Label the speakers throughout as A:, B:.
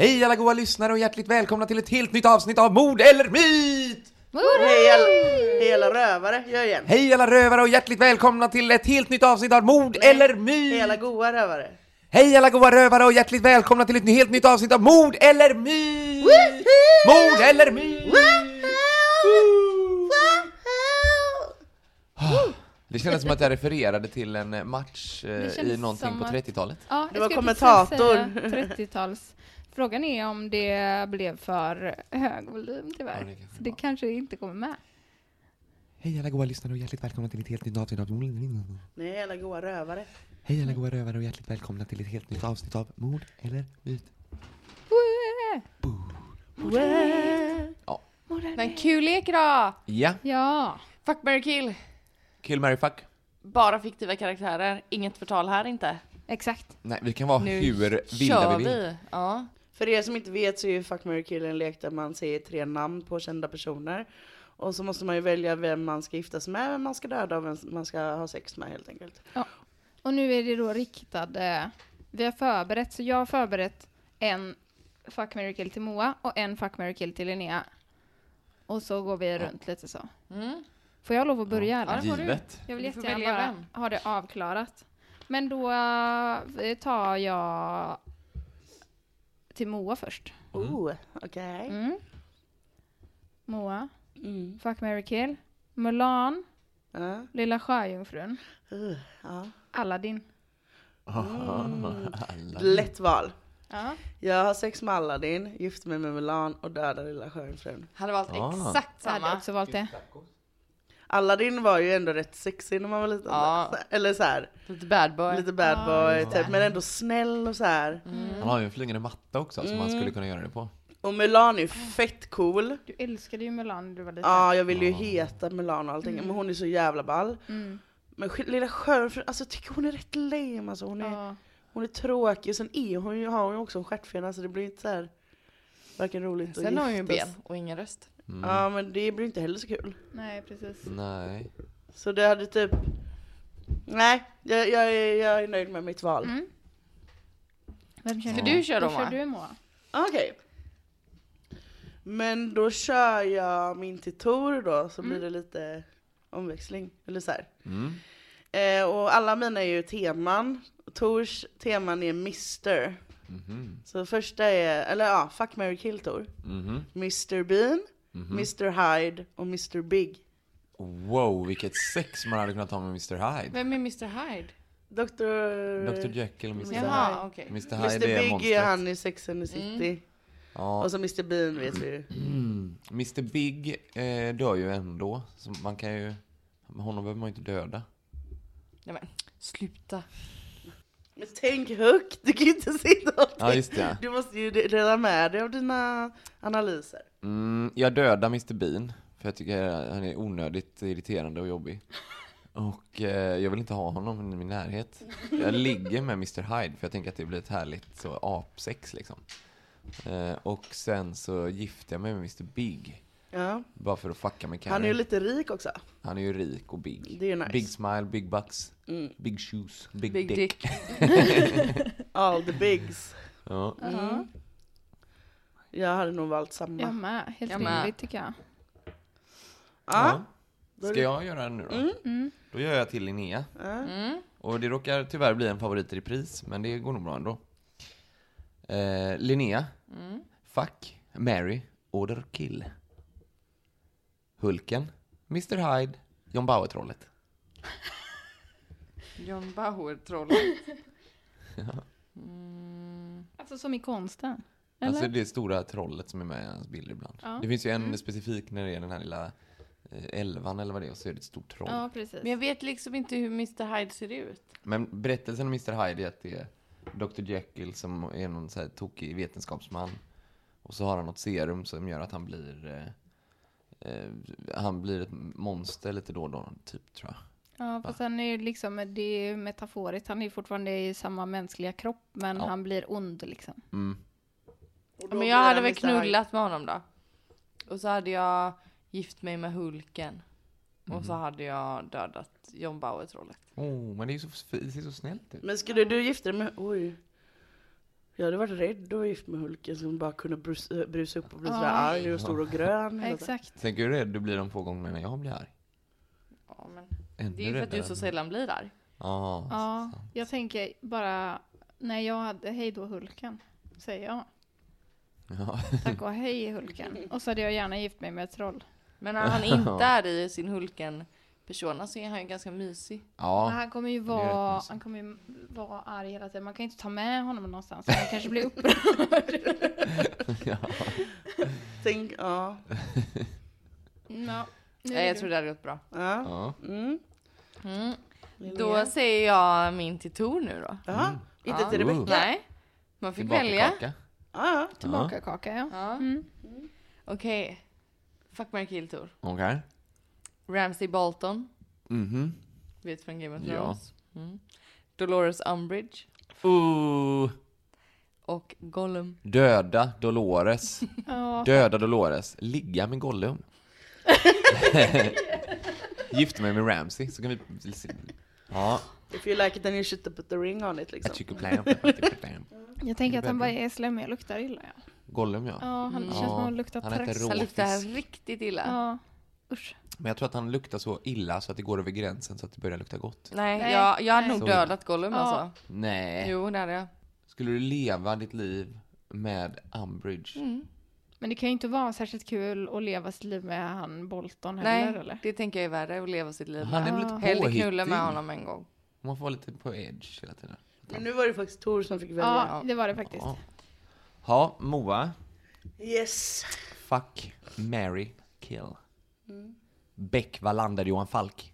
A: Hej alla goa lyssnare och hjärtligt välkomna till ett helt nytt avsnitt av Mord eller Myt!
B: Hej alla, hej alla rövare, gör igen.
A: Hej alla rövare och hjärtligt välkomna till ett helt nytt avsnitt av Mord eller
B: Hej
A: Myt!
B: alla goa rövare.
A: Hej alla goa rövare och hjärtligt välkomna till ett ny- helt nytt avsnitt av Mord eller Myt! Mord eller Myt! Ah, Det kändes som att jag refererade till en match eh,
C: Det
A: i
C: kändes
A: någonting
C: som
A: på
C: att-
A: 30-talet.
C: Ja, jag
B: Det var
C: skulle
B: kommentator.
C: precis säga 30-tals. Frågan är om det blev för hög volym tyvärr.
A: Ja, det kan-
C: Så det kanske inte kommer med.
A: Hej alla goa lyssnare och hjärtligt välkomna till ett helt nytt avsnitt av Mord eller Myt!
B: Nej, alla goa rövare.
A: Hej alla goa rövare och hjärtligt välkomna till ett helt nytt avsnitt av Mord eller Myt!
C: Wee!
A: Ja.
D: Men kul lek då!
A: Ja,
C: Ja,
D: Fuck, marry, kill!
A: kill, marry, fuck.
D: Bara fiktiva karaktärer, inget förtal här inte.
C: exakt.
A: Nej, vi kan vara
D: Nu
A: hur vilda
D: Kör
A: vi vill.
D: vi! Ja.
B: För er som inte vet så är ju Fuck, marry, kill en lek där man säger tre namn på kända personer. Och så måste man ju välja vem man ska gifta sig med, vem man ska döda och vem man ska ha sex med helt enkelt.
C: Och nu är det då riktade. Vi har förberett, så jag har förberett en Fuck, marry, kill till Moa och en Fuck, marry, kill till Linnea. Och så går vi runt lite så.
D: Mm.
C: Får jag lov att börja eller?
A: Givet.
C: Jag vill
D: Du får
C: jättegärna
D: välja
C: bara
D: vem.
C: ha det avklarat. Men då eh, tar jag till Moa först.
B: Oh, okej.
C: Mm. Moa,
B: Mm.
C: Fuck, marry, kill, Mulan,
B: Ja.
C: Lilla Sjöjungfrun,
B: Uh, ja.
C: Aladdin.
B: Lätt val.
C: Ja.
B: Jag har sex med Aladdin, gifter mig med Mulan och dödar lilla sjöjungfrun.
D: Hade valt
A: Ah.
D: exakt
C: Jag hade
D: samma.
C: också valt det.
B: Aladdin var ju ändå rätt sexig när man var liten.
D: Ja.
B: Eller så här,
D: Lite bad boy.
B: lite bad boy typ, men ändå snäll och så här.
D: Mm.
A: Han har ju en flygande matta också som han skulle kunna göra det på.
B: Och Mulan är ju fett cool.
D: Mm.
C: Du älskade ju Mulan när du var liten.
B: Ja, jag vill ju heta Mulan och allting,
D: Mm.
B: men hon är så jävla ball. Men sk- lilla sjöjungfrun, alltså jag tycker hon är rätt lame alltså, hon är,
C: Ja.
B: hon är tråkig, sen är hon ju, har hon ju också en stjärtfena så det blir inte så här varken roligt och
D: Sen har hon ju
B: giftas.
D: ben och ingen röst.
B: Ja men det blir inte heller så kul.
C: Nej, precis.
A: Nej.
B: Så det hade typ, nej jag, jag, är- jag är nöjd med mitt val.
D: Mm.
C: Vem kör
D: Ska
C: du?
D: du köra
C: Då
D: då
C: kör
D: Moa?
C: du Moa.
B: Okej. Men då kör jag min till Tor då, så
A: Mm.
B: blir det lite omväxling. Eller så här. Eh, och alla mina är ju teman. Tors teman är Mr.
A: Mm-hmm.
B: Så första är, eller ja, Fuck, marry, kill Tor.
A: Mm-hmm.
B: Mr Bean, Mr Hyde och Mr Big.
A: Wow, vilket sex man hade kunnat ha med Mr Hyde.
D: Vem är Mr Hyde?
B: Dr...
A: Dr Jekyll och Mr Hyde.
D: Jaha, okej.
A: Mr
B: Mr
A: Hyde är
B: Mm. Big är
A: monstret. Mm.
B: han i Sex and the City.
A: Ja,
B: Och så Mr Bean vet vi ju.
A: Mr Big eh, dör ju ändå. Så man kan ju... Honom behöver man ju inte döda.
D: Nej men, sluta.
B: Men tänk högt, du kan ju inte sitta och
A: Ja, just det.
B: Du måste ju de- dela med dig av dina analyser.
A: Mm, jag dödar Mr Bean. För jag tycker han är onödigt irriterande och jobbig. Och eh, jag vill inte ha honom i min närhet. Jag ligger med Mr Hyde för jag tänker att det blir ett härligt så apsex liksom. Eh, och sen så gifter jag mig med Mr Big.
B: Ja.
A: Bara för att fucka med Karen.
B: Han är ju lite rik också.
A: han är ju rik och big.
B: Det är ju nice. Mm.
A: Big smile, big bucks, big shoes, big,
D: Big
A: dick.
D: Dick.
B: All the bigs.
A: Ja.
C: Mm.
B: Jag hade nog valt samma.
C: Jag
B: Ja.
C: med. Helt
D: Jag med.
C: rimligt tycker jag.
A: Ja.
B: då är
A: Ska
B: det-
C: Mm,
A: jag göra en nu då? Då gör jag till Linnea. Och Och det råkar tyvärr bli en favorit i repris, men det går nog bra ändå. Eh, Linnea. Fuck, Mary, Order Kill. Hulken, Mr Hyde, John Bauer-trollet.
E: John Bauer-trollet.
C: Alltså som i konsten. Eller?
A: Alltså det stora trollet som är med i hans bild ibland.
C: Ja. Mm.
A: Det finns ju en specifik när det är den här lilla eh, elvan eller vad det är och så är det ett stort troll.
C: ja, precis.
D: Men jag vet liksom inte hur Mr Hyde ser ut.
A: Men berättelsen om Mr Hyde är att det är Dr Jekyll som är någon så här tokig vetenskapsman. Och så har han något serum som gör att han blir... Eh, eh, han blir ett monster lite då och då, typ, tror jag.
C: Ja, fast han är ju liksom, det är ju metaforiskt. Han är ju fortfarande i samma mänskliga kropp, men
A: Ja.
C: han blir ond liksom.
B: Och då
D: Men
B: blir
D: jag
B: han
D: hade väl
B: Mr. Hyde.
D: knullat med honom då. Och så hade jag gift mig med Hulken. Och
A: Mhm.
D: så hade jag dödat John Bauer-trollet.
A: Oh, men det, är ju så, det ser så snällt ut.
B: Men skulle du gifta dig med... Oj. Jag hade varit rädd att vara gift med Hulken som bara kunde brus, eh, brusa upp och bli sådär
C: Ja.
B: arg och stor och grön.
A: Mm.
B: hela tiden.
C: Exakt.
A: Tänk hur rädd du blir de få gångerna när jag blir arg.
D: Ja, men
A: Ännu
D: det är ju för att du
A: räddare.
D: så sällan blir där.
A: Ja.
C: Ja, jag tänker bara, när jag hade hej då Hulken, säger jag.
A: Ja.
C: Tack och hej Hulken. Och så hade jag gärna gift mig med ett troll.
D: Men när han inte är i sin Hulken-persona så är han ju ganska mysig.
C: Men
A: ja.
C: han kommer ju
A: det är rätt
C: vara,
A: mysigt.
C: han kommer ju vara arg hela tiden. Man kan ju inte ta med honom någonstans. Han kanske blir upprörd.
B: Tänk, ja.
C: Ja. Nu
D: Nej,
C: är
D: jag
C: du-
D: tror det hade gått bra.
B: ja.
A: ja.
B: Mm.
D: Då säger jag min till Tor nu då.
B: Jaha, inte till
A: Oh.
B: Rebecka.
D: Nej, man fick välja.
A: Tillbakakaka.
B: Ja,
A: Ja.
C: Tillbaka kaka, ja.
D: Ja. Okej. Fuck, marry, kill Tor.
A: Okej.
D: Ramsay Bolton,
A: Mhm.
D: vet från Game of
A: Ja.
D: Thrones. Mm. Dolores Umbridge
A: Ooh.
D: och Gollum.
A: Döda Dolores.
C: Ja.
A: Döda Dolores. Ligga med Gollum. Gifta mig med Ramsey så kan vi... Ja,
B: if you like it then you should put the ring on it
A: jag
B: liksom.
A: tycker plan.
C: Jag tänker att han bara är slemmig och luktar illa. Ja,
A: Gollum ja.
C: ja han känns
A: Mm. Ja,
C: som att han luktar
A: han äter
C: träsk.
A: rå-
D: Han luktar
A: Råfisk.
D: riktigt illa.
C: Ja. Usch.
A: Men jag tror att han luktar så illa så att det går över gränsen så att det börjar lukta gott.
D: Nej,
C: Nej.
D: jag, jag hade nog
A: Så.
D: dödat Gollum
C: Ja.
D: alltså.
A: Nej.
D: Jo, det hade jag.
A: Skulle du leva ditt liv med Umbridge?
B: Mm.
C: Men det kan ju inte vara särskilt kul att leva sitt liv med han Bolton
D: Nej,
C: heller, eller?
D: det tänker jag är värre att leva sitt liv
A: Han är
D: med.
A: väl lite
D: Hellre knulla
A: påhittig?
D: med honom en gång.
A: Man får vara lite på edge hela tiden.
B: Men nu var det faktiskt Tor som fick välja.
C: Ja, det var det faktiskt.
A: Ja. Ha, Moa.
B: Yes.
A: Fuck, Mary, kill. Beck, Wallander, Johan Falk.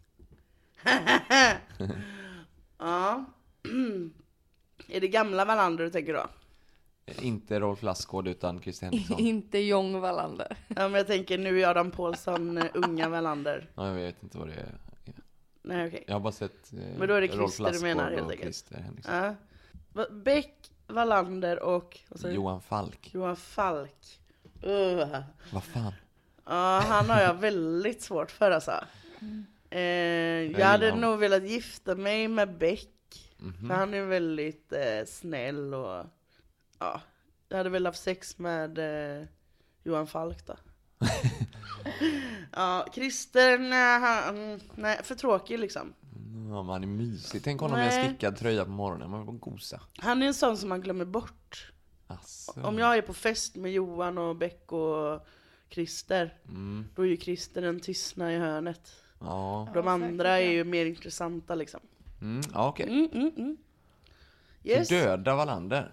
B: Ja. Är det gamla Wallander du tänker då?
A: Inte Rolf Lassgård utan Christer Henriksson.
D: Inte John Wallander.
B: Ja men jag tänker nu är Adam Pålsson eh, unga Wallander.
F: Mm.
A: Ja, jag vet inte vad det är.
B: Nej okej.
A: Jag har bara sett eh,
B: Men då är det
A: Rolf
B: Christer du
A: Lassgård
B: menar, helt
A: och
B: enkelt.
A: Christer Henriksson.
B: Ja. Va- Beck, Wallander och vad sa du?
A: Johan Falk.
B: Johan Falk. Ugh.
A: Vad fan?
B: Ja, han har jag väldigt svårt för alltså. Eh, jag
A: gillar
B: hade
A: honom. Mhm.
B: nog velat gifta mig med Beck. För han är väldigt eh, snäll och ja. Jag hade velat ha sex med eh, Johan Falk då. ja, Christer, nej, han, nej, för tråkig liksom.
A: Ja, men han är mysig. Tänk honom med en
B: Nej.
A: stickad tröja på morgonen. Man vill gosa.
B: Han är en sån som man glömmer bort.
A: Asså.
B: Om jag är på fest med Johan och Beck och Christer,
A: Mm.
B: då är ju Christer den tystna i hörnet.
A: Ja,
B: De andra är ju mer intressanta liksom.
A: mm, ja okej.
B: Mm, mm, mm. Yes.
A: Så döda Wallander.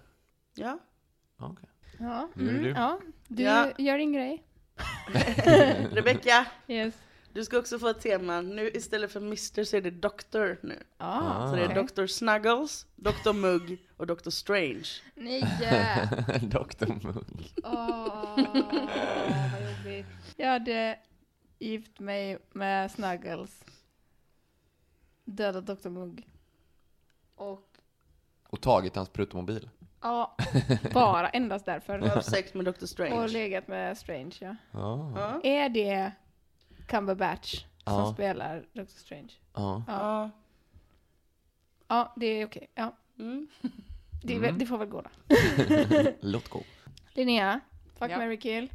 B: Ja.
A: Ja, okej.
C: Ja.
A: Nu är det
B: Mm.
A: du.
C: ja. Du
B: Ja.
C: gör din grej.
B: Rebecka,
C: Yes.
B: du ska också få ett tema. Nu istället för Mr så är det Doctor nu.
A: Ah.
C: Ja.
B: Så det är Dr Snuggles, Dr Mugg och Dr Strange.
C: Nej.
A: Dr. Munk.
C: Åh, vad jobbigt. Jag hade gift mig med Snuggles. Dödat Dr Mugg. Och
A: Och tagit hans pruttomobil.
C: ja, bara endast
B: Jag har
C: därför.
B: haft sex med Dr
C: Och
B: Strange.
C: legat med Strange, ja.
A: Ja.
C: Är det Cumberbatch som
A: Ja.
C: spelar Dr Strange?
A: ja.
B: Ja.
C: Ja, det är okej. Ja.
B: Mm.
C: Det, är
A: Mm.
C: väl, det får väl gå då.
A: Låt gå.
C: Linnea, Fuck,
D: Ja.
C: Mary Kill,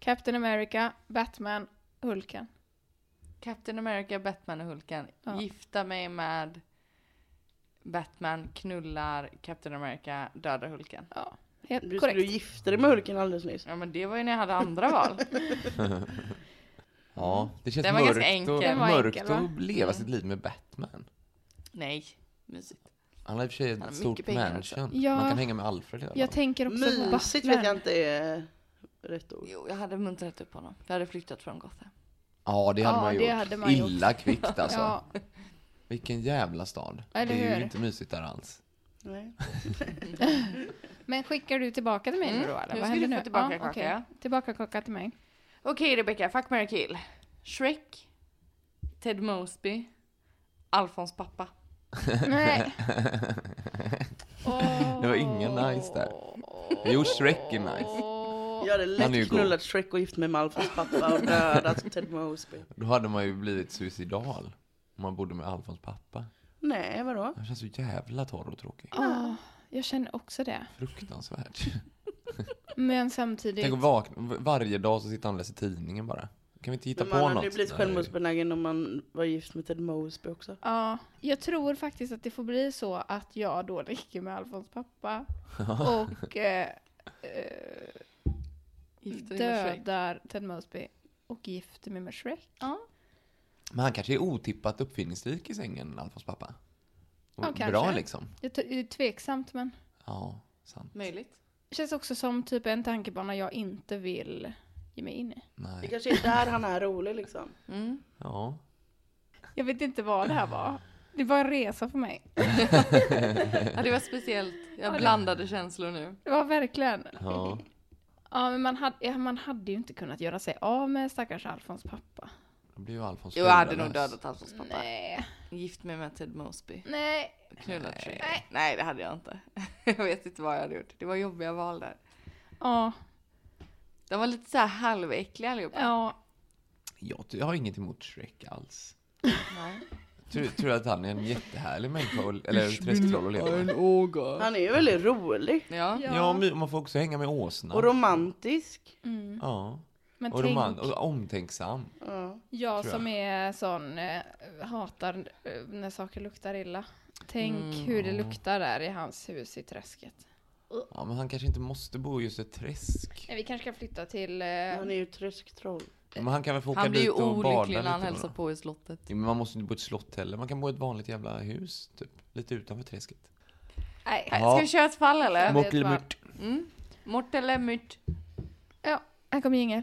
C: Captain America, Batman, Hulken.
D: Captain America, Batman och Hulken.
C: Ja.
D: Gifta mig med Batman knullar Captain America, dödar Hulken.
C: Ja, helt
B: Du skulle ju
C: korrekt.
B: gifta dig med Hulken alldeles nyss.
D: Ja men det var ju när jag hade andra val.
A: Ja, det känns
D: Den var ganska
A: mörkt, och,
D: enkel.
C: Den var enkel,
A: mörkt
C: va?
A: att leva
D: Mm.
A: sitt liv med Batman.
D: Nej, mysigt.
A: Han har i och för sig
D: har
A: ett
D: mycket
A: stort
D: pengar
A: mansion.
C: Ja.
A: Man kan hänga med Alfred i alla
C: Jag
A: fall.
C: tänker också på
B: Mysigt vet jag
C: Batman.
B: inte är rätt ord.
D: Jo, jag hade muntrat upp honom. Jag hade flyttat från Gotham.
A: Ja, det hade
C: Ja,
A: man
C: det
A: gjort.
C: hade man gjort.
A: Illa kvickt alltså.
C: Ja,
A: Vilken jävla stad.
C: Eller
A: det är ju
C: hur?
A: inte mysigt där alls.
B: Nej.
C: men skickar du tillbaka till mig nu
D: Mm,
C: då eller?
D: nu
C: Vad
D: ska
C: händer
D: du få
C: nu?
D: tillbaka
C: Ja,
D: kaka,
C: okej.
D: ja.
C: Tillbaka kaka till mig.
D: Okej Rebecca, fuck, marry, kill. Shrek, Ted Mosby, Alfons pappa.
C: Nej.
A: Det var ingen nice där. Jo, Shrek är nice.
B: Jag hade
A: Han är ju
B: lätt
A: god.
B: knullat Shrek och gift mig med Alfons pappa och dödat Ted Mosby.
A: Då hade man ju blivit suicidal. Om man bodde med Alfons pappa.
B: Nej, vadå?
A: Han känns så jävla torr och tråkig.
C: Åh, jag känner också det.
A: Fruktansvärt.
C: Men samtidigt.
A: Tänk att vakna varje dag så sitter han och läser tidningen bara. Kan vi inte hitta
B: Men
A: på
B: man
A: något?
B: hade ju blivit
A: Nej.
B: självmordsbenägen om man var gift med Ted Mosby också.
C: Ja, jag tror faktiskt att det får bli så att jag då dricker med Alfons pappa och eh, eh,
D: Gifte dig med Shrek.
C: dödar Ted Mosby och gifter mig med Shrek. Ja,
A: Men han kanske är otippat uppfinningsrik i sängen, Alfons pappa. Och
C: Ja,
A: Bra
C: kanske.
A: liksom.
C: det t- det är tveksamt men
A: Ja, sant.
D: Möjligt.
C: det känns också som typ en tankebana jag inte vill ge mig in i.
B: Det
A: Nej.
B: kanske är där han är rolig liksom.
A: Ja.
C: Jag vet inte vad det här var. Det var en resa för mig.
D: Ja, det var speciellt. Jag blandade känslor nu.
C: Det var verkligen.
A: ja.
C: Ja, men man hade, ja, man hade ju inte kunnat göra sig av med stackars Alfons pappa.
A: Då blir ju Alfons
D: Jo, jag hade nog
A: föräldralös.
D: dödat Alfons pappa.
C: Nej,
D: Gift mig med Ted Mosby.
C: nej.
D: Knullat Shrek. Nej. det hade jag inte. Jag vet inte vad jag hade gjort. Det var jobbiga val där.
C: Ja,
D: De var lite så här halväckliga allihopa.
C: ja.
A: Jag, jag har inget emot Shrek alls.
D: Nej.
A: Tror, tror att han är en jättehärlig människa, och- eller träsktroll att leva med.
B: Han är ju väldigt rolig.
D: Ja.
A: Ja, my- man får också hänga med åsnan.
B: Och romantisk.
A: ja.
C: Men
A: Och,
C: tänk,
A: roman- och omtänksam.
C: jag
A: tror
C: som är sån, eh, hatar eh, när saker luktar illa. Tänk
A: Mm.
C: hur det luktar där i hans hus i träsket.
A: Ja, men han kanske inte måste bo i just ett träsk.
C: Nej, vi kanske kan flytta till... eh,
B: Han är ju trösktroll.
A: Men han kan väl få åka
D: Han blir
A: dit
D: ju
A: och bada
D: olycklig
A: lite.
D: när han
A: bara.
D: hälsar på i slottet.
A: Jo, Men man måste inte bo i ett slott heller. Man kan bo i ett vanligt jävla hus, typ. Lite utanför träsket.
C: Nej.
A: Ja.
D: Ska vi köra ett fall eller?
C: vet vad.
A: Mockelmört.
D: Mort eller myrt?
C: Ja, här kommer jingel.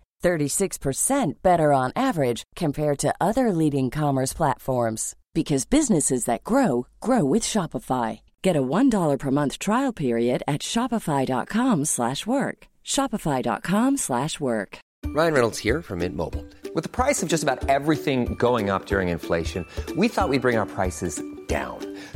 E: 36% better on average compared to other leading commerce platforms because businesses that grow grow with Shopify. Get a $1 per month trial period at shopify.com/work. slash work. shopify.com/work. slash work.
F: Ryan Reynolds here from Mint Mobile. With the price of just about everything going up during inflation, we thought we'd bring our prices down.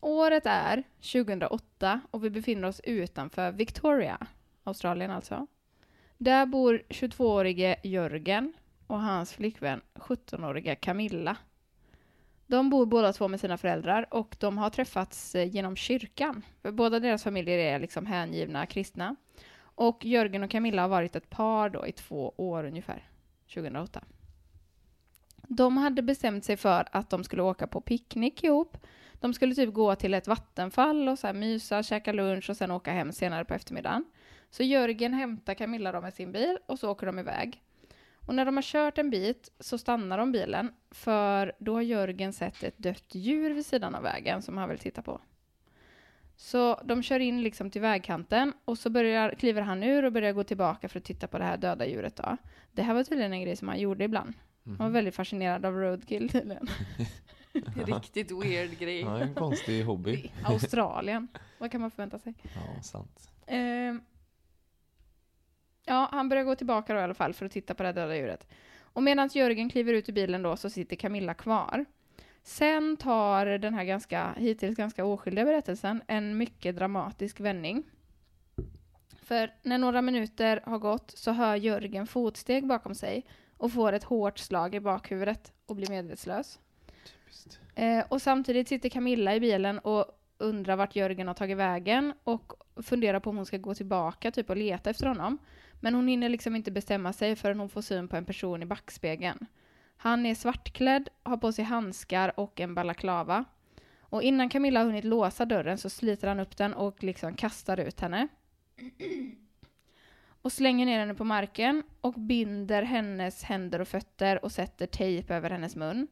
C: Året är 2008 och vi befinner oss utanför Victoria, Australien alltså. Där bor 22-årige Jörgen och hans flickvän 17-åriga Camilla. De bor båda två med sina föräldrar och de har träffats eh, genom kyrkan. För båda deras familjer är liksom hängivna kristna. Och Jörgen och Camilla har varit ett par då i två år ungefär, 2008. De hade bestämt sig för att de skulle åka på picknick ihop de skulle typ gå till ett vattenfall och så här mysa, käka lunch och sen åka hem senare på eftermiddagen. Så Jörgen hämtar Camilla då med sin bil och så åker de iväg. Och när de har kört en bit så stannar de bilen för då har Jörgen sett ett dött djur vid sidan av vägen som han vill titta på. Så de kör in liksom till vägkanten och så börjar, kliver han ur och börjar gå tillbaka för att titta på det här döda djuret då. Det här var tydligen en grej som han gjorde ibland. Han var väldigt fascinerad av roadkill tydligen.
D: Riktigt weird grej.
A: Ja, det är en konstig hobby.
C: I Australien. Vad kan man förvänta sig?
A: Ja, sant.
C: Ehm. ja, han börjar gå tillbaka då i alla fall för att titta på det här döda djuret. Och medan Jörgen kliver ut ur bilen då så sitter Camilla kvar. Sen tar den här ganska, hittills ganska oskyldiga berättelsen en mycket dramatisk vändning. För när några minuter har gått så hör Jörgen fotsteg bakom sig och får ett hårt slag i bakhuvudet och blir medvetslös.
A: Typiskt.
C: Eh, och samtidigt sitter Camilla i bilen och undrar vart Jörgen har tagit vägen och funderar på om hon ska gå tillbaka typ och leta efter honom. Men hon hinner liksom inte bestämma sig förrän hon får syn på en person i backspegeln. Han är svartklädd, har på sig handskar och en balaklava. Och innan Camilla har hunnit låsa dörren så sliter han upp den och liksom kastar ut henne. Och slänger ner henne på marken och binder hennes händer och fötter och sätter tejp över hennes mun.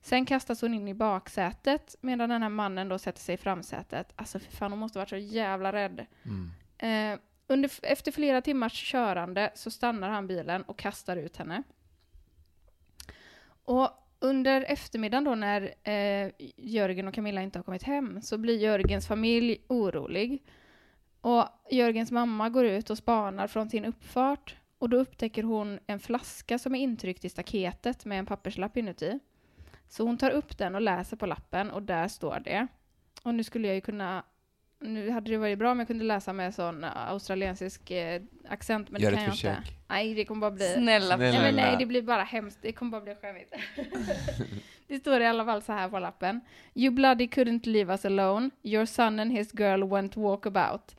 C: Sen kastas hon in i baksätet medan den här mannen då sätter sig i framsätet. Alltså för fan, hon måste varit så jävla rädd.
A: Mm.
C: Eh, under, efter flera timmars körande så stannar han bilen och kastar ut henne. Och under eftermiddagen då när eh, Jörgen och Camilla inte har kommit hem så blir Jörgens familj orolig. Och Jörgens mamma går ut och spanar från sin uppfart och då upptäcker hon en flaska som är intryckt i staketet med en papperslapp inuti. Så hon tar upp den och läser på lappen och där står det. Och nu skulle jag ju kunna... Nu hade det varit bra om jag kunde läsa med sån australiensisk eh, accent, men
A: Gör
C: det
A: ett
C: kan jag inte.
A: försök.
C: Nej, det kommer bara bli...
D: Snälla,
C: Nej, men
A: Snälla.
C: nej, det blir bara hemskt. Det kommer bara bli skämmigt. det står i alla fall så här på lappen. You bloody couldn't leave us alone. Your son and his girl went walkabout.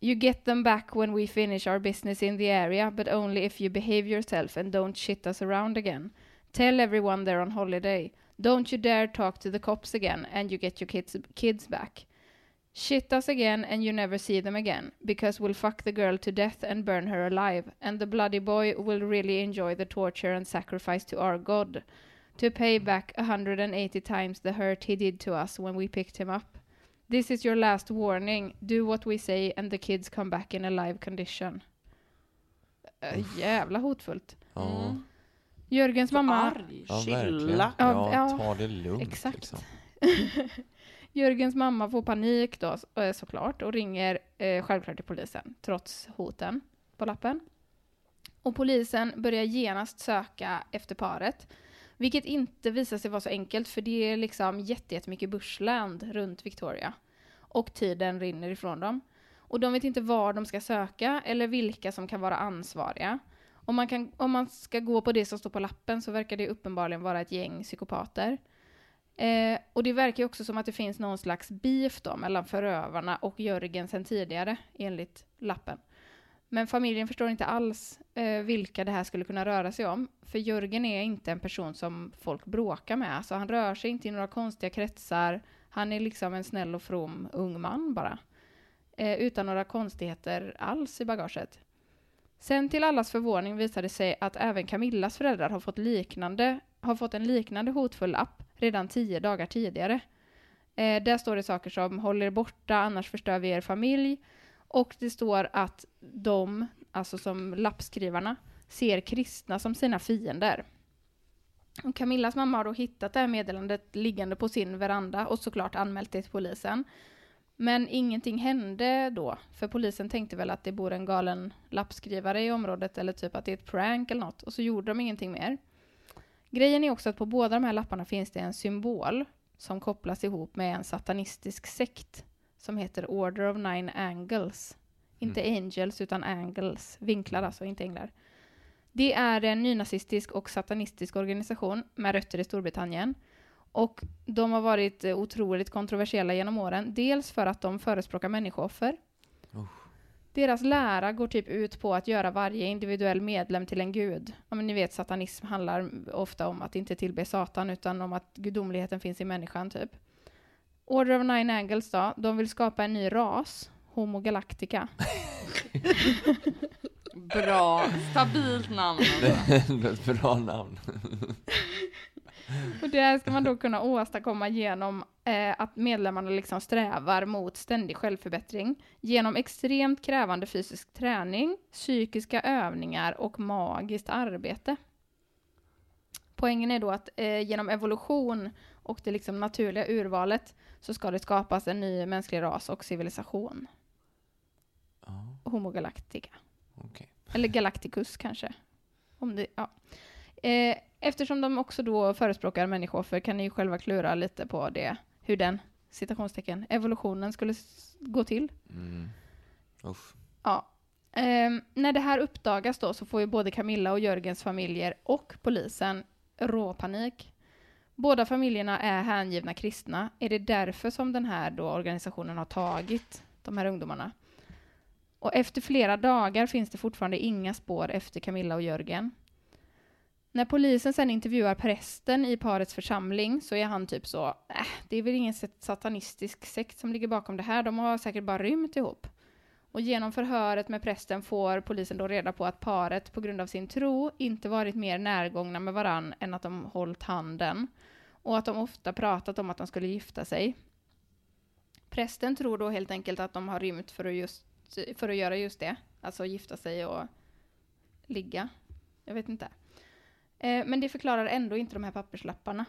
C: You get them back when we finish our business in the area, but only if you behave yourself and don't shit us around again. Tell everyone they're on holiday. Don't you dare talk to the cops again, and you get your kids, kids back. Shit us again and you never see them again, because we'll fuck the girl to death and burn her alive, and the bloody boy will really enjoy the torture and sacrifice to our god, to pay back 180 times the hurt he did to us when we picked him up. This is your last warning. Do what we say and the kids come back in a live condition. Äh, jävla hotfullt.
A: Ja,
C: Jörgens mamma...
D: Arg.
A: ja
B: Chilla.
A: verkligen.
B: Ja,
C: ja,
A: Ja, ta det lugnt.
C: exakt.
A: Liksom.
C: Jörgens mamma får panik då så- eh, såklart och ringer eh, självklart till polisen trots hoten på lappen. Och polisen börjar genast söka efter paret. Vilket inte visar sig vara så enkelt för det är liksom jätte- jättemycket bushland runt Victoria. Och tiden rinner ifrån dem. Och de vet inte var de ska söka eller vilka som kan vara ansvariga. Om man, kan, om man ska gå på det som står på lappen så verkar det uppenbarligen vara ett gäng psykopater. Eh, och det verkar ju också som att det finns någon slags beef då mellan förövarna och Jörgen sen tidigare, enligt lappen. Men familjen förstår inte alls eh, vilka det här skulle kunna röra sig om. För Jörgen är inte en person som folk bråkar med. Alltså han rör sig inte i några konstiga kretsar. Han är liksom en snäll och from ung man bara. Eh, utan några konstigheter alls i bagaget. Sen till allas förvåning visade det sig att även Camillas föräldrar har fått, liknande, har fått en liknande hotfull app redan tio dagar tidigare. Eh, där står det saker som “håll er borta, annars förstör vi er familj” och det står att de, alltså som lappskrivarna, ser kristna som sina fiender. Och Camillas mamma har då hittat det här meddelandet liggande på sin veranda och såklart anmält det till polisen. Men ingenting hände då, för polisen tänkte väl att det bor en galen lappskrivare i området eller typ att det är ett prank eller något, och så gjorde de ingenting mer. Grejen är också att på båda de här lapparna finns det en symbol som kopplas ihop med en satanistisk sekt som heter Order of Nine Angles. Inte angels, utan angles. Vinklar alltså, inte änglar. Det är en nynazistisk och satanistisk organisation med rötter i Storbritannien. Och de har varit eh, otroligt kontroversiella genom åren. Dels för att de förespråkar människooffer. Deras lära går typ ut på att göra varje individuell medlem till en gud. Ja, men ni vet, satanism handlar ofta om att inte tillbe Satan, utan om att gudomligheten finns i människan, typ. Order of Nine Angles då, de vill skapa en ny ras, Homo Galactica.
D: Bra, stabilt namn.
A: Ett Bra namn.
C: Och det här ska man då kunna åstadkomma genom eh, att medlemmarna liksom strävar mot ständig självförbättring genom extremt krävande fysisk träning, psykiska övningar och magiskt arbete. Poängen är då att eh, genom evolution och det liksom naturliga urvalet så ska det skapas en ny mänsklig ras och civilisation.
A: Ja,
C: Homo Galactica.
A: okej.
C: Eller Galacticus kanske. Om det, ja. eh, eftersom de också då förespråkar människooffer kan ni ju själva klura lite på det. Hur den, citationstecken, evolutionen skulle s- gå till.
A: Mm. Usch.
C: Ja. Ehm, när det här uppdagas då så får ju både Camilla och Jörgens familjer och polisen råpanik. Båda familjerna är hängivna kristna. Är det därför som den här då organisationen har tagit de här ungdomarna? Och efter flera dagar finns det fortfarande inga spår efter Camilla och Jörgen. När polisen sen intervjuar prästen i parets församling så är han typ så, äh, det är väl ingen satanistisk sekt som ligger bakom det här, de har säkert bara rymt ihop. Och genom förhöret med prästen får polisen då reda på att paret på grund av sin tro inte varit mer närgångna med varann än att de hållit handen. Och att de ofta pratat om att de skulle gifta sig. Prästen tror då helt enkelt att de har rymt för att, just, för att göra just det. Alltså gifta sig och ligga. Jag vet inte. Eh, men det förklarar ändå inte de här papperslapparna.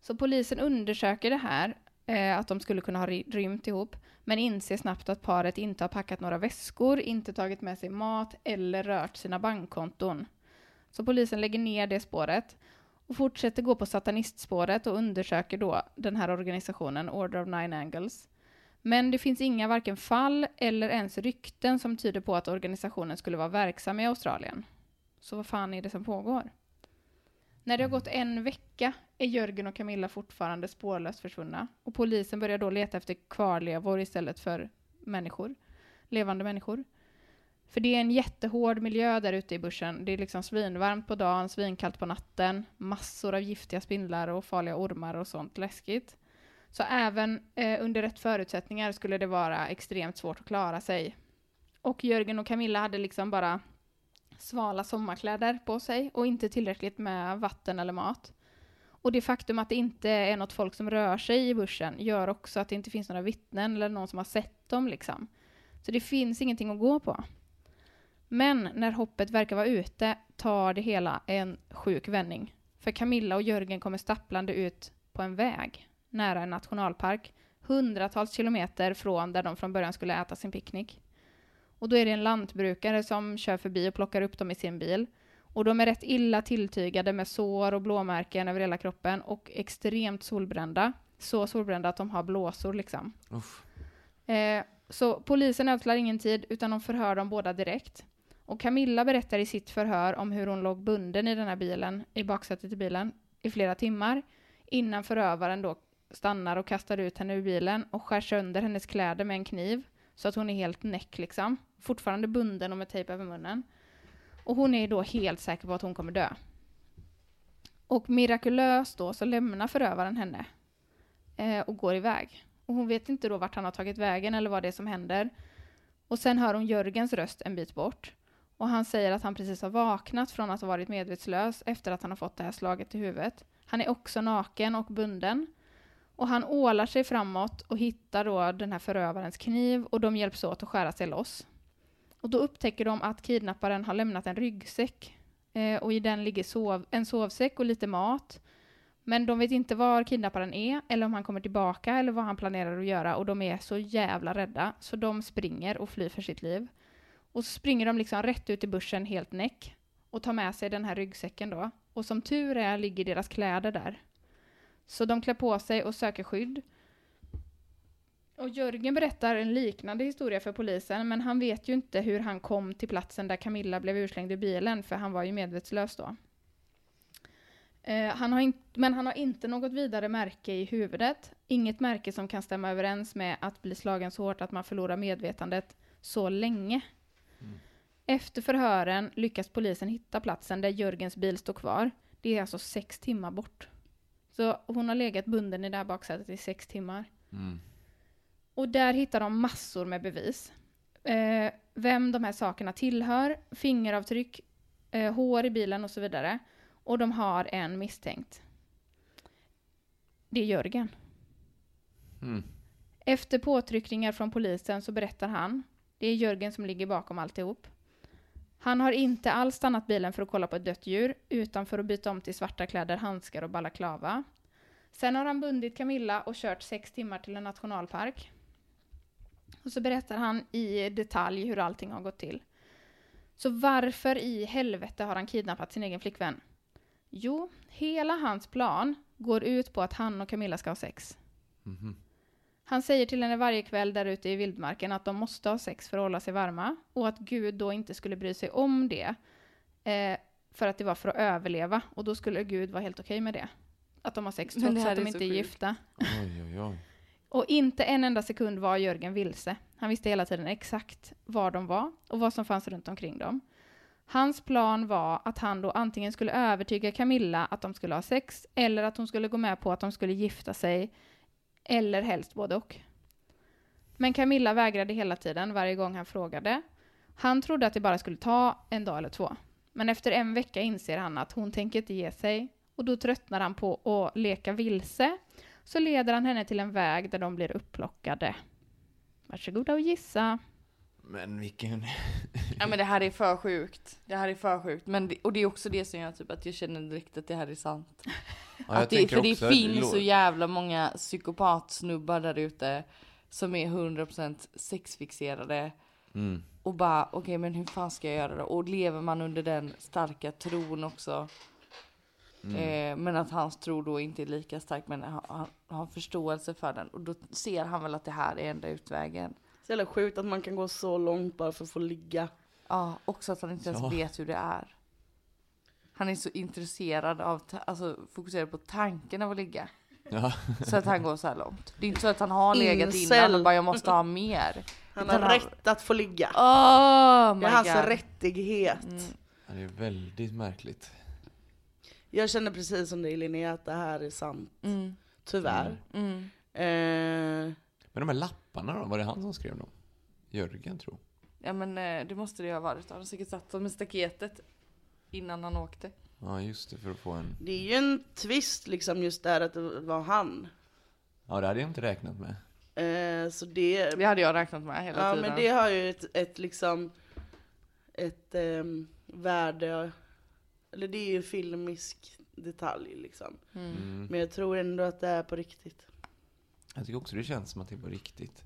C: Så polisen undersöker det här, eh, att de skulle kunna ha ry- rymt ihop men inser snabbt att paret inte har packat några väskor, inte tagit med sig mat eller rört sina bankkonton. Så polisen lägger ner det spåret och fortsätter gå på satanistspåret och undersöker då den här organisationen Order of Nine Angles. Men det finns inga varken fall eller ens rykten som tyder på att organisationen skulle vara verksam i Australien. Så vad fan är det som pågår? När det har gått en vecka är Jörgen och Camilla fortfarande spårlöst försvunna och polisen börjar då leta efter kvarlevor istället för människor, levande människor. För det är en jättehård miljö där ute i bussen. Det är liksom svinvarmt på dagen, svinkallt på natten, massor av giftiga spindlar och farliga ormar och sånt läskigt. Så även eh, under rätt förutsättningar skulle det vara extremt svårt att klara sig. Och Jörgen och Camilla hade liksom bara svala sommarkläder på sig och inte tillräckligt med vatten eller mat. Och det faktum att det inte är något folk som rör sig i bussen gör också att det inte finns några vittnen eller någon som har sett dem liksom. Så det finns ingenting att gå på. Men när hoppet verkar vara ute tar det hela en sjuk vändning. För Camilla och Jörgen kommer stapplande ut på en väg nära en nationalpark hundratals kilometer från där de från början skulle äta sin picknick. Och då är det en lantbrukare som kör förbi och plockar upp dem i sin bil. Och de är rätt illa tilltygade med sår och blåmärken över hela kroppen och extremt solbrända. Så solbrända att de har blåsor liksom.
A: Uff.
C: Eh, så polisen ödslar ingen tid utan de förhör dem båda direkt. Och Camilla berättar i sitt förhör om hur hon låg bunden i den här bilen, i baksätet i bilen, i flera timmar innan förövaren då stannar och kastar ut henne ur bilen och skär sönder hennes kläder med en kniv så att hon är helt näck liksom. Fortfarande bunden och med tejp över munnen. Och hon är då helt säker på att hon kommer dö. Och mirakulöst då så lämnar förövaren henne eh, och går iväg. Och hon vet inte då vart han har tagit vägen eller vad det är som händer. Och sen hör hon Jörgens röst en bit bort. Och han säger att han precis har vaknat från att ha varit medvetslös efter att han har fått det här slaget i huvudet. Han är också naken och bunden. Och han ålar sig framåt och hittar då den här förövarens kniv och de hjälps åt att skära sig loss. Och då upptäcker de att kidnapparen har lämnat en ryggsäck. Eh, och i den ligger sov, en sovsäck och lite mat. Men de vet inte var kidnapparen är, eller om han kommer tillbaka, eller vad han planerar att göra. Och de är så jävla rädda, så de springer och flyr för sitt liv. Och så springer de liksom rätt ut i bussen helt näck. Och tar med sig den här ryggsäcken då. Och som tur är ligger deras kläder där. Så de klär på sig och söker skydd. Och Jörgen berättar en liknande historia för polisen, men han vet ju inte hur han kom till platsen där Camilla blev urslängd ur bilen, för han var ju medvetslös då. Eh, han har in- men han har inte något vidare märke i huvudet, inget märke som kan stämma överens med att bli slagen så hårt att man förlorar medvetandet så länge. Efter förhören lyckas polisen hitta platsen där Jörgens bil står kvar. Det är alltså sex timmar bort. Så hon har legat bunden i det här baksätet i sex timmar.
A: Mm.
C: Och där hittar de massor med bevis. Eh, vem de här sakerna tillhör, fingeravtryck, eh, hår i bilen och så vidare. Och de har en misstänkt. Det är Jörgen.
A: Mm.
C: Efter påtryckningar från polisen så berättar han. Det är Jörgen som ligger bakom alltihop. Han har inte alls stannat bilen för att kolla på ett dött djur, utan för att byta om till svarta kläder, handskar och balaklava. Sen har han bundit Camilla och kört sex timmar till en nationalpark. Och så berättar han i detalj hur allting har gått till. Så varför i helvete har han kidnappat sin egen flickvän? Jo, hela hans plan går ut på att han och Camilla ska ha sex.
A: Mhm.
C: Han säger till henne varje kväll där ute i vildmarken att de måste ha sex för att hålla sig varma och att Gud då inte skulle bry sig om det eh, för att det var för att överleva och då skulle Gud vara helt okej med det. Att de har sex
D: Men det
C: trots
D: här
C: att de
D: är
C: inte
D: så
C: är
D: sjukt.
C: gifta.
A: Oj, oj, oj.
C: Och inte en enda sekund var Jörgen vilse. Han visste hela tiden exakt var de var och vad som fanns runt omkring dem. Hans plan var att han då antingen skulle övertyga Camilla att de skulle ha sex eller att hon skulle gå med på att de skulle gifta sig eller helst både och. Men Camilla vägrade hela tiden varje gång han frågade. Han trodde att det bara skulle ta en dag eller två. Men efter en vecka inser han att hon tänker inte ge sig och då tröttnar han på att leka vilse så leder han henne till en väg där de blir upplockade. Varsågoda och gissa.
A: Men vilken...
D: Ja men det här är för sjukt. Det här är för sjukt. Men det, och det är också det som gör typ att jag känner direkt att det här är sant.
A: Ja,
D: att det,
A: tänker
D: för det
A: också-
D: finns
A: lå-
D: så jävla många psykopatsnubbar där ute som är 100% sexfixerade.
A: Mm.
D: Och bara okej men hur fan ska jag göra då? Och lever man under den starka tron också.
A: Mm.
D: Eh, men att hans tro då inte är lika stark men han, han har förståelse för den. Och då ser han väl att det här är enda utvägen.
B: Så jävla sjukt att man kan gå så långt bara för att få ligga.
D: Ja, också att han inte ens
A: Ja.
D: vet hur det är. Han är så intresserad av, ta- alltså fokuserad på tanken av att ligga.
A: Ja.
D: Så att han går så här långt. Det är inte så att han har legat innan
B: Incel.
D: och bara jag måste ha mer.
B: Han
D: Utan
B: har rätt alltså att få ligga.
D: Oh my
B: Det är hans
D: god.
B: rättighet.
A: Ja, Det är väldigt märkligt.
B: Jag känner precis som dig Linnea att det här är sant.
D: Mm.
B: Tyvärr.
D: Mm.
B: Eh,
A: Men de här lapparna då? Var det han som skrev dem? Jörgen tror
D: Ja men eh, det måste det ju ha varit. Han har säkert satt dem i staketet innan han åkte.
A: Ja, just det. För att få en...
B: det är ju en twist liksom just där att det var han.
A: Ja, det hade jag inte räknat med.
B: Eh, så det,
D: Det hade jag räknat med hela
B: ja,
D: tiden.
B: men det har ju ett, ett liksom, ett ehm, värde, eller det är ju en filmisk detalj liksom.
A: Mm.
B: Men jag tror ändå att det är på riktigt.
A: Jag tycker också det känns som att det var riktigt.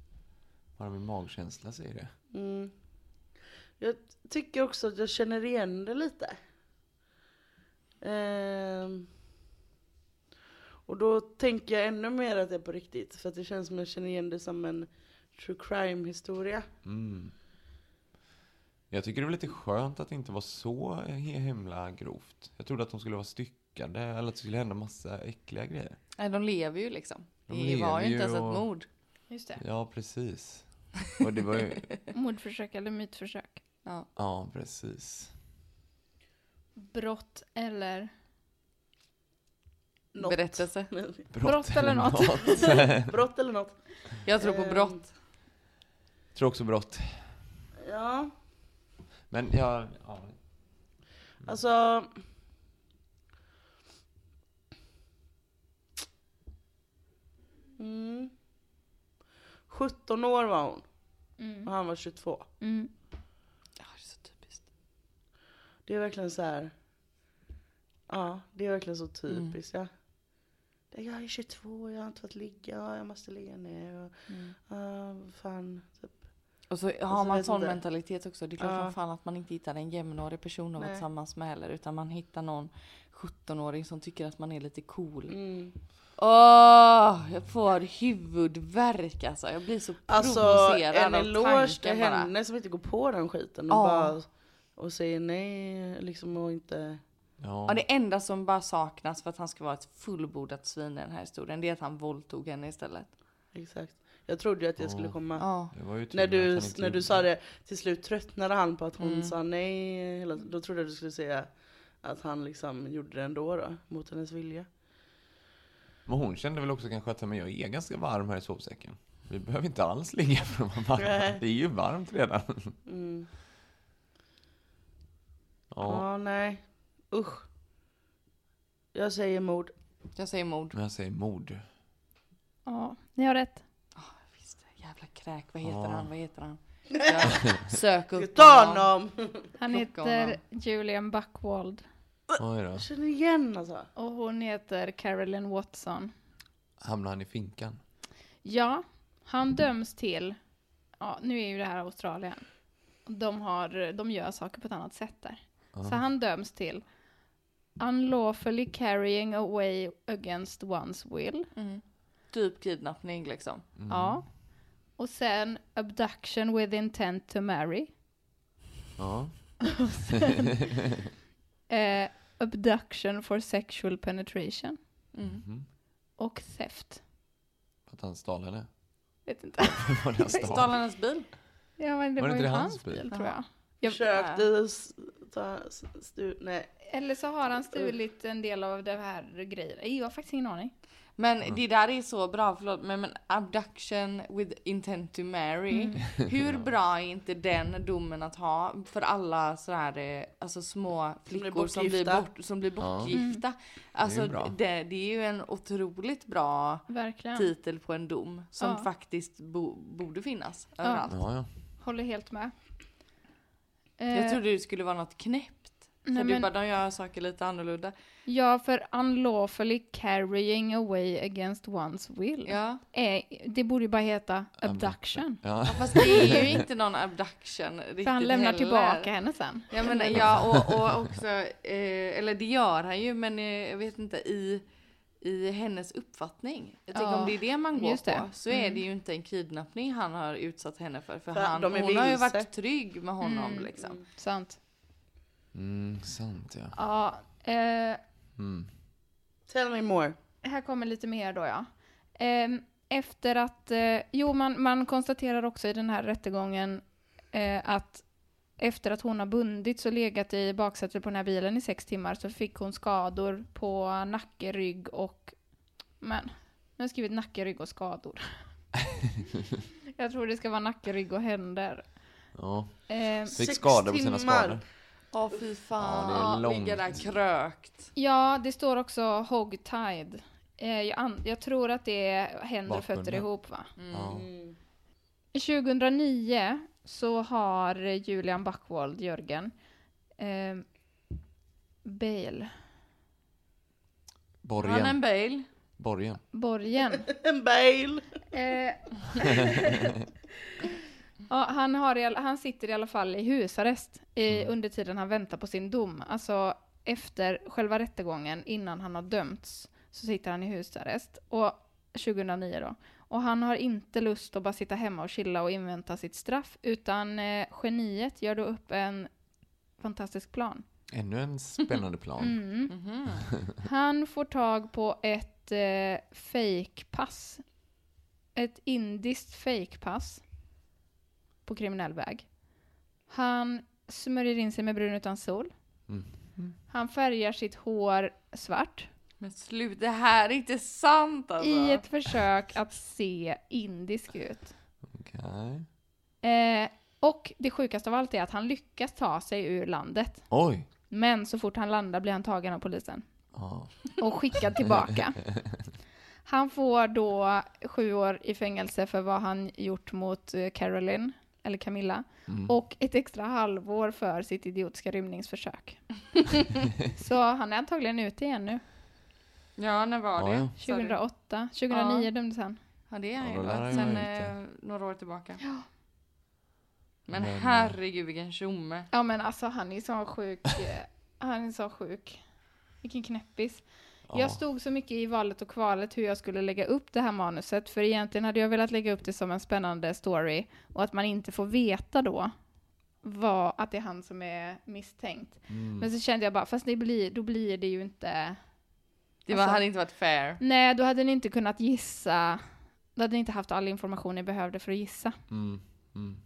A: Bara min magkänsla säger det.
B: Mm. Jag tycker också att jag känner igen det lite. Ehm. och då tänker jag ännu mer att det är på riktigt. För att det känns som att jag känner igen det som en true crime historia.
A: Mm. Jag tycker det var lite skönt att det inte var så he- himla grovt. Jag trodde att de skulle vara styckade eller att det skulle hända massa äckliga grejer.
D: Nej, de lever ju liksom.
A: De
D: det var
A: lever
D: ju
A: ju
D: inte ens
A: och-
D: ett mord.
C: Just det.
A: Ja, precis. Och det var ju...
C: Mordförsök eller mytförsök.
D: Ja.
A: Ja, precis.
C: Brott eller...
B: Något.
D: Berättelse.
C: Brott eller något.
B: Brott eller något.
D: Jag tror på
B: Ehm,
D: brott.
A: tror också brott.
B: Ja,
A: Men jag... Ja.
B: Alltså... Mm. 17 år var hon och han var 22.
C: Mm.
D: Ja, det är så typiskt.
B: Det är verkligen så här. Ja, det är verkligen så typiskt.
D: Mm.
B: Ja. Det- Jag är 22, jag har inte fått ligga, ja, jag måste ligga nu. Och, ja, vad fan. Typ.
D: Och så har
B: Alltså,
D: man
B: vet
D: sån
B: inte.
D: mentalitet också. Det är klart
B: Ja.
D: som fan att man inte hittar en jämnårig person att vara
B: Nej.
D: tillsammans med heller. Utan man hittar någon 17-åring som tycker att man är lite cool.
B: Mm.
D: Åh, jag får huvudvärk alltså. Jag blir så
B: Alltså
D: provocerad
B: en
D: av
B: eloge till
D: tanken bara.
B: henne som inte går på den skiten och,
D: Ja.
B: bara, och säger nej liksom och inte.
D: Ja, det enda som bara saknas för att han ska vara ett fullbordat svin i den här historien, det är att han våldtog henne istället.
B: Exakt. Jag trodde ju att jag skulle komma.
D: Ja.
A: Det var ju tur
B: När
A: att han
B: du,
A: inte
B: när
A: gjorde
B: du sa det, till slut tröttnade han på att hon
D: Mm.
B: sa nej. Hela, då trodde jag du skulle säga att han liksom gjorde det ändå då, mot hennes vilja.
A: Men hon kände väl också kanske att men jag är ganska varm här i sovsäcken. Vi behöver inte alls ligga för att vara varma.
B: Nej.
A: Det är ju varmt redan.
B: Mm.
A: Ja,
B: Ja, nej. Usch. Jag säger mord.
D: Jag säger mord.
A: men jag säger mord.
C: Ja, ni har rätt.
D: Visst, jävla kräk, vad heter han, vad heter han? Jag söker upp
B: Ta
D: honom.
B: honom!
C: Han
D: Plocka
C: heter
D: honom.
C: Julian Buckwald
A: Oj då.
B: Jag känner igen alltså.
C: och hon heter Carolyn Watson.
A: Hamnar han i finkan?
C: Ja, han döms till... Ja, nu är ju det här Australien. De, har, de gör saker på ett annat sätt där. Så han döms till unlawfully carrying away against one's will.
D: Typ kidnappning liksom.
A: Mm.
C: Ja. Och sen abduction with intent to marry.
A: Ja.
C: Eh, abduction for sexual penetration. Mm.
B: Mm.
C: Och theft.
A: Mhm. Att han stal henne?
C: Vet inte.
A: Var det han
D: Stal
A: stal?
D: han hennes bil?
C: Ja, men det
A: Var
C: var,
A: det
C: ju
A: inte
C: hans, bil, tror jag. jag.
B: Försökte s- ta... s- Stu, nej.
C: Eller så har han stulit en del av det här grejen. Jag har faktiskt ingen aning.
D: Men det där är så bra, förlåt men, men abduction with intent to marry.
C: Mm.
D: Hur bra är inte den domen att ha för alla så här, eh, alltså små flickor som blir,
B: bortgifta.
D: bort, som blir bortgifta?
C: Mm.
D: Alltså
A: bra.
D: det, det är ju en otroligt bra
C: Verkligen.
D: titel på en dom som
C: Ja.
D: faktiskt bo, borde finnas överallt.
A: Ja, ja.
C: Håller helt med.
D: Jag
C: Eh,
D: trodde det skulle vara något knäppt. För
C: Nej,
D: du
C: men-
D: bara, de gör saker lite annorlunda.
C: Ja, för unlawfully carrying away against one's will.
D: Ja.
C: Eh, det borde ju bara heta abduction.
A: ja.
D: Fast det är ju inte någon abduction riktigt
C: För han lämnar
D: heller.
C: tillbaka henne sen.
D: Jag menar, ja och, och också, eh, eller det gör han ju men eh, jag vet inte i, i hennes uppfattning. Jag tänker
C: Ja,
D: om det är det man går
C: just det. Mm.
D: på så är det ju inte en kidnappning han har utsatt henne för. För
B: För
D: han,
B: de är
D: hon har ju
B: vilse.
D: varit trygg med honom
C: Mm.
D: liksom.
C: Sant.
A: Mm, sant ja. Mm.
C: Ja, eh,
B: Tell me more.
C: här kommer lite mer då ja. Ehm, efter att, eh, jo man, man konstaterar också i den här rättegången eh, att efter att hon har bundits och legat i baksätet på den här bilen i sex timmar så fick hon skador på nacke, rygg och... Men, nu har jag skrivit nacke, rygg och skador. jag tror det ska vara nacke, rygg och händer.
A: ja.
C: Ehm,
A: Fick
B: Sex
A: skador på sina
B: timmar.
A: skador.
D: Ja fy fan.
A: Ja, det är
D: Ligga där
A: långt.
D: krökt.
C: Ja, det står också hogtied. Eh, jag, an- jag tror att det är händer och fötter
A: Bakbunden.
C: ihop va?
B: Mm.
A: Ja.
C: 2009 så har Julian Backwald, Jörgen, eh, bail,
D: Han är
A: Borgen.
D: en bail.
A: Borgen.
C: borgen.
B: En bail!
C: Eh, ja, han, har i, all- han sitter i alla fall i husarrest i, under tiden han väntar på sin dom. Alltså efter själva rättegången, innan han har dömts, så sitter han i husarrest. Och 2009 då. Och han har inte lust att bara sitta hemma och chilla och invänta sitt straff, utan eh, geniet gör då upp en fantastisk plan.
A: Ännu en spännande plan.
C: Mm. Han får tag på ett eh, fejkpass. Ett indiskt fejkpass. På kriminell väg. Han smörjer in sig med brun utan sol. Han färgar sitt hår svart.
D: Men slut, det här är inte sant alltså.
C: I ett försök att se indisk ut.
A: Okej.
C: Eh, och det sjukaste av allt är att han lyckas ta sig ur landet.
A: Oj!
C: Men så fort han landar blir han tagen av polisen.
A: Ja.
C: och skickad tillbaka. Han får då sju år i fängelse för vad han gjort mot eh, Caroline, eller Camilla,
A: Mm,
C: och ett extra halvår för sitt idiotiska rymningsförsök. Så han är antagligen ute igen nu.
D: Ja, när var
A: Ja,
D: det?
A: ja.
D: Sa du?
C: 2008, 2009
D: Ja.
C: dömdes han.
D: Ja, det är
A: Ja,
D: han
A: då
D: ju.
A: lär han
D: då.
A: ju
D: Sen
A: vara ute.
D: eh, några år tillbaka. Men,
A: Men, eh,
D: herregud vilken tjomme.
C: Ja men alltså han är så sjuk. eh, Han är så sjuk. Vilken knäppis.
A: Ja.
C: Jag stod så mycket i valet och kvalet hur jag skulle lägga upp det här manuset. För egentligen hade jag velat lägga upp det som en spännande story. Och att man inte får veta då vad, att det är han som är misstänkt. Men så kände jag bara, fast det blir, då blir det ju inte...
D: Det
C: Alltså-
D: var, hade inte varit fair.
C: Nej, då hade ni inte kunnat gissa. Då hade ni inte haft all information ni behövde för att gissa.
A: Mm. Mm.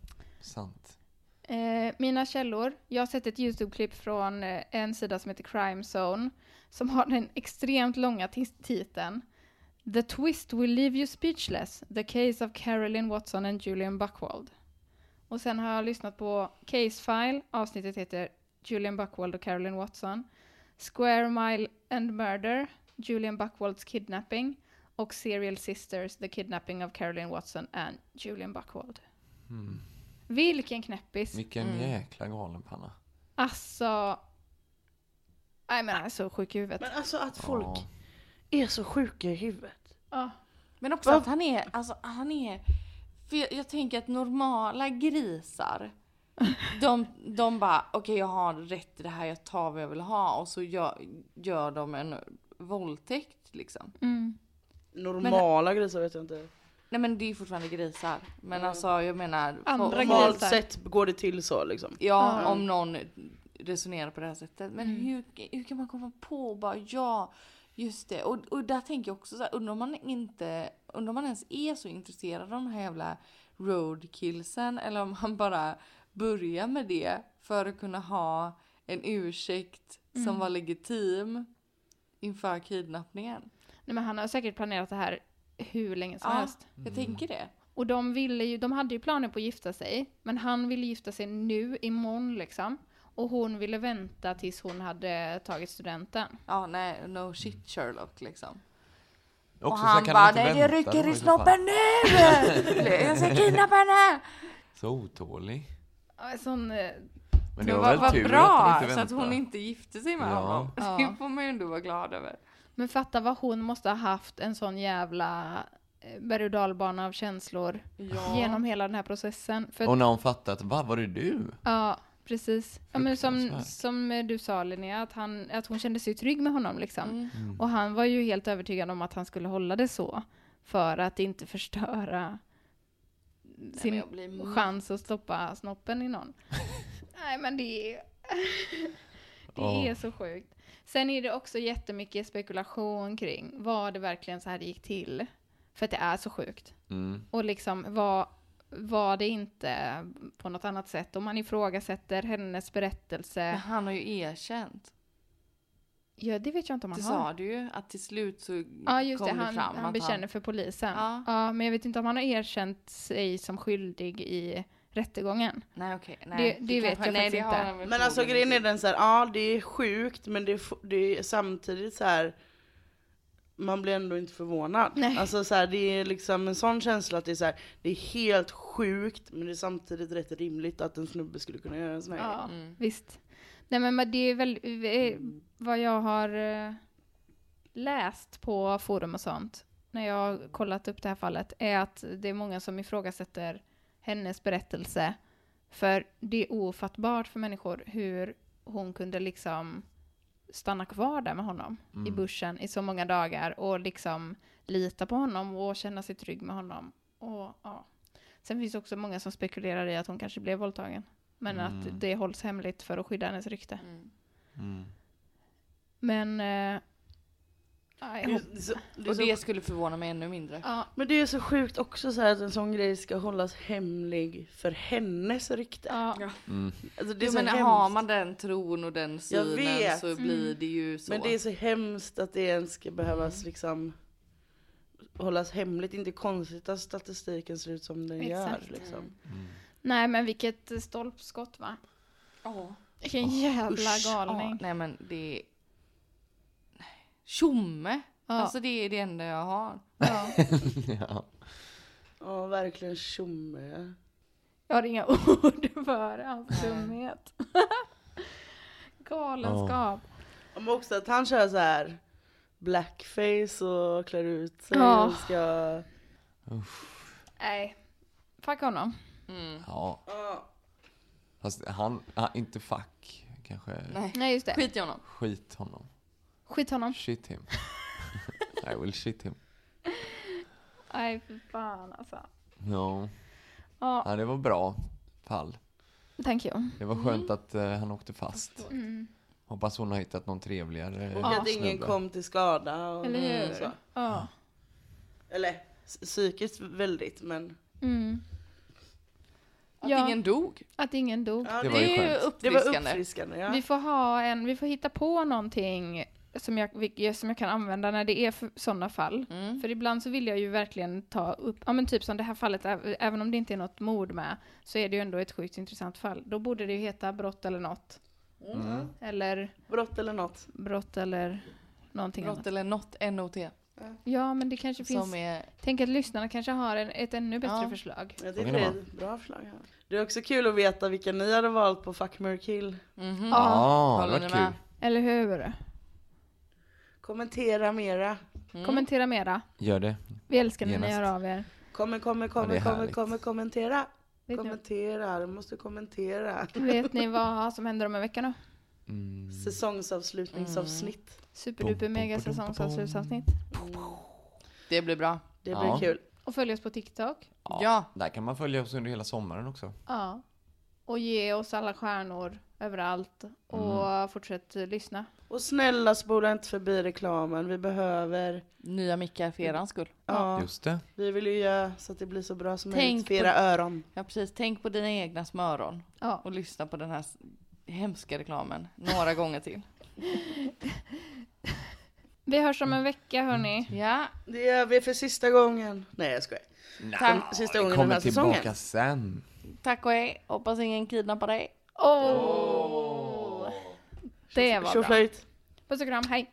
A: Sant.
C: Eh, mina källor. Jag har sett ett YouTube-klipp från eh, en sida som heter Crime Zone. Som har den extremt långa tis- titeln. The twist will leave you speechless. The case of Carolyn Watson and Julian Buckwald. Och sen har jag lyssnat på Case File. Avsnittet heter Julian Buckwald och Carolyn Watson. Square Mile and Murder. Julian Buckwalds Kidnapping. Och Serial Sisters, The Kidnapping of Carolyn Watson and Julian Buckwald. Vilken knäppis!
A: Vilken
D: Mm.
A: jäkla galenpanna.
C: Alltså... Nej men han är så sjuk i huvudet.
B: Men alltså att folk
A: Ja.
B: är så sjuka i huvudet.
C: Ja.
D: Men också att han är, alltså han är, för jag, jag tänker att normala grisar, de, de bara okej jag har rätt i det här, jag tar vad jag vill ha och så gör, gör de en våldtäkt liksom.
B: Normala grisar vet jag inte.
D: Nej men det är ju fortfarande grisar. Men alltså jag menar,
C: Andra
D: om-
C: grisar.
B: Normalt sett går det till så liksom.
D: ja om någon resonerar på det här sättet. Men hur, hur kan man komma på och bara ja, just det. Och, och där tänker jag också så här, undrar om man inte, undrar om man ens är så intresserad av de här jävla roadkillsen eller om han bara börjar med det för att kunna ha en ursäkt som var legitim inför kidnappningen.
C: Nej, men han har säkert planerat det här hur länge som
D: Ja,
C: helst.
D: jag tänker det.
C: Och de, ville ju, de hade ju planer på att gifta sig, men han ville gifta sig nu, imorgon liksom. Och hon ville vänta tills hon hade tagit studenten.
D: Ja, nej, no shit Sherlock liksom.
A: Också
D: och
A: så
D: han
A: kan
D: bara
A: inte
D: nej det
A: vänta då
D: rycker i
A: fall.
D: snoppen nu! Jag ska kidnappa henne!
A: Så otålig.
C: Ja, en Sån, eh,
A: Men det
D: Men
A: var
D: vad,
A: väl
D: vad
A: tur
D: bra!
A: att hon inte
D: så att
A: väntade.
D: hon inte gifte sig med
A: Ja.
D: honom.
C: Ja.
D: Det får man ju ändå vara glad över.
C: men fatta vad hon måste ha haft en sån jävla eh, berg och dalbana av känslor genom hela den här processen. För att-
A: Och när hon fattade att va, var det du?
C: Ja, precis. Ja, men som,
A: Fruktansvärt.
C: som du sa Linnea, att, han, att hon kände sig trygg med honom. Liksom.
D: Mm.
B: Mm.
C: Och han var ju helt övertygad om att han skulle hålla det så. För att inte förstöra sin
D: jag blir-
C: chans att stoppa snoppen i någon. Nej men det är... det
A: Ja.
C: är så sjukt. Sen är det också jättemycket spekulation kring var det verkligen så här det gick till. För att det är så sjukt.
A: Mm.
C: Och liksom var, var det inte på något annat sätt? Om man ifrågasätter hennes
D: Men
C: berättelse.
D: han har ju erkänt.
C: Ja, det vet jag inte om
D: Det
C: han har.
D: sa du ju att till slut så
C: Ja, just
D: kom
C: det.
D: det
C: Han,
D: fram
C: han
D: att
C: bekänner för polisen.
D: Ja.
C: men jag vet inte om han har erkänt sig som skyldig i rättegången.
D: Nej okej,
C: Det-
D: nej.
C: det vet jag
D: nej,
C: faktiskt
D: det har
C: inte.
D: han väl
B: Men alltså
D: förmodligen
B: grejen är den så här, ja det är sjukt men det är, f- det är samtidigt så här. Man blir ändå inte förvånad.
C: Nej.
B: Alltså så här, det är liksom en sån känsla att det är så här, det är helt sjukt men det är samtidigt rätt rimligt att en snubbe skulle kunna göra en sån här grej.
C: Ja, visst. Nej, men men det är väl eh, vad jag har eh, läst på forum och sånt när jag har kollat upp det här fallet är att det är många som ifrågasätter hennes berättelse. För det är ofattbart för människor hur hon kunde liksom stanna kvar där med honom i bussen i så många dagar och liksom lita på honom och känna sig trygg med honom. Och, ja. Sen finns det också många som spekulerar i att hon kanske blev våldtagen. Men att det hålls hemligt för att skydda hennes rykte.
A: Mm.
C: Men... Eh, ja, jag hoppas-
B: Det är så- det är
D: Och
B: så-
D: det skulle förvåna mig ännu mindre.
C: ja,
B: Men det är ju så sjukt också så här att en sån grej ska hållas hemlig för hennes rykte.
C: ja,
B: Alltså det är
D: Jo,
B: så
D: men
B: hemskt.
D: har man den tron och den synen
B: vet.
D: så blir det ju så.
B: Men det är så hemskt att det ens ska behövas
C: Mm.
B: liksom hållas hemligt. Inte konstigt att statistiken ser ut som den
C: Exakt. Mm.
B: gör. Liksom.
C: Nej men vilket stolpskott va?
D: Ja.
C: Vilken jävla
D: Ja,
C: galning.
D: nej men det... Nej. Tjomme!
C: Ja.
D: Alltså det är det enda jag har.
C: Ja.
A: ja.
B: Ja, verkligen tjomme.
C: Jag har inga ord för hans dumhet. Galenskap.
B: Ja, Men också att han kör så här blackface och klär ut sig
C: Ja.
B: och ska...
C: Nej. Fuck honom.
A: ja. Fast han, ah, inte fuck kanske.
D: Nej.
C: Nej just det.
D: Skit i honom.
A: Skit honom.
C: Skit honom.
A: Shit him. I will shit him.
C: Nej fy fan alltså.
A: Ja.
C: Ja,
A: ja, det var bra fall.
C: thank you.
D: Mm,
A: Det var skönt att eh, han åkte fast. Hoppas hon har hittat någon trevligare eh,
B: Och att ingen
A: snubbe.
B: kom till skada. Och
C: Eller hur?
B: så.
C: Ja.
B: Eller s- psykiskt väldigt men.
C: Mm.
D: Att
C: Ja.
D: ingen dog.
C: Att ingen dog.
A: Det
B: Ja, det,
A: var
D: Det
A: ju
D: är ju
A: skönt.
B: det var
D: uppfriskande.
B: uppfriskande. Ja.
C: Vi får ha en, vi får hitta på någonting som jag, vilk- som jag kan använda när det är för, sådana fall.
D: Mm.
C: För ibland så vill jag ju verkligen ta upp, ja men typ som det här fallet, ä- även om det inte är något mord med, så är det ju ändå ett sjukt intressant fall. Då borde det ju heta brott eller något.
D: Mm.
C: Eller
B: Brott eller något.
C: brott eller någonting
D: Brott
C: annat.
D: eller något, NOT.
C: Ja men det kanske finns,
D: Som är...
C: tänk att lyssnarna kanske har en, ett ännu bättre
D: Ja.
C: förslag.
B: Ja, det
A: kan
B: är
A: det
B: ett bra förslag. Ja. Det är också kul att veta vilka ni hade valt på Fuck, Mary, Kill.
A: Ja, det
D: Håller
A: var
D: ni med?
A: kul.
C: Eller hur?
D: Mm.
B: Kommentera mera.
C: Kommentera mera.
A: Gör det.
C: Vi älskar när ni
A: Genast.
C: hör av er.
B: Kommer, kommer, kommer,
A: det är
B: kommer,
A: härligt.
B: kommer, kommentera.
C: Vet ni,
B: Kommentera, du måste kommentera.
C: vet ni vad som händer om en vecka då?
A: Mm.
B: Säsongsavslutningsavsnitt.
C: Superduper mega säsongsavslutsavsnitt.
D: Det blir bra.
B: Det blir
A: Ja.
B: kul.
C: Och följ oss på TikTok.
D: Ja.
A: Där kan man följa oss under hela sommaren också.
C: Ja. Och ge oss alla stjärnor överallt. Och fortsätt eh, lyssna.
B: Och snälla spola inte förbi reklamen. Vi behöver,
D: Nya mickar för erans skull.
B: ja,
A: Just det.
B: vi vill ju göra så att det blir så bra som
D: Tänk
B: möjligt för era
D: på-
B: öron.
D: Ja precis, tänk på dina egna smöron.
C: Ja.
D: Och lyssna på den här s- hemska reklamen några gånger till.
C: Vi hörs om en vecka hörni.
D: Ja,
B: Det gör vi för sista gången. Nej jag skojar.
D: tack,
B: Sista gången den
A: Kommer
B: här säsongen.
A: tillbaka sen.
D: tack och hej. Hoppas ingen kidnappar dig.
C: Åh! Det var bra.
B: Tjoflöjt.
C: Puss och kram, hej!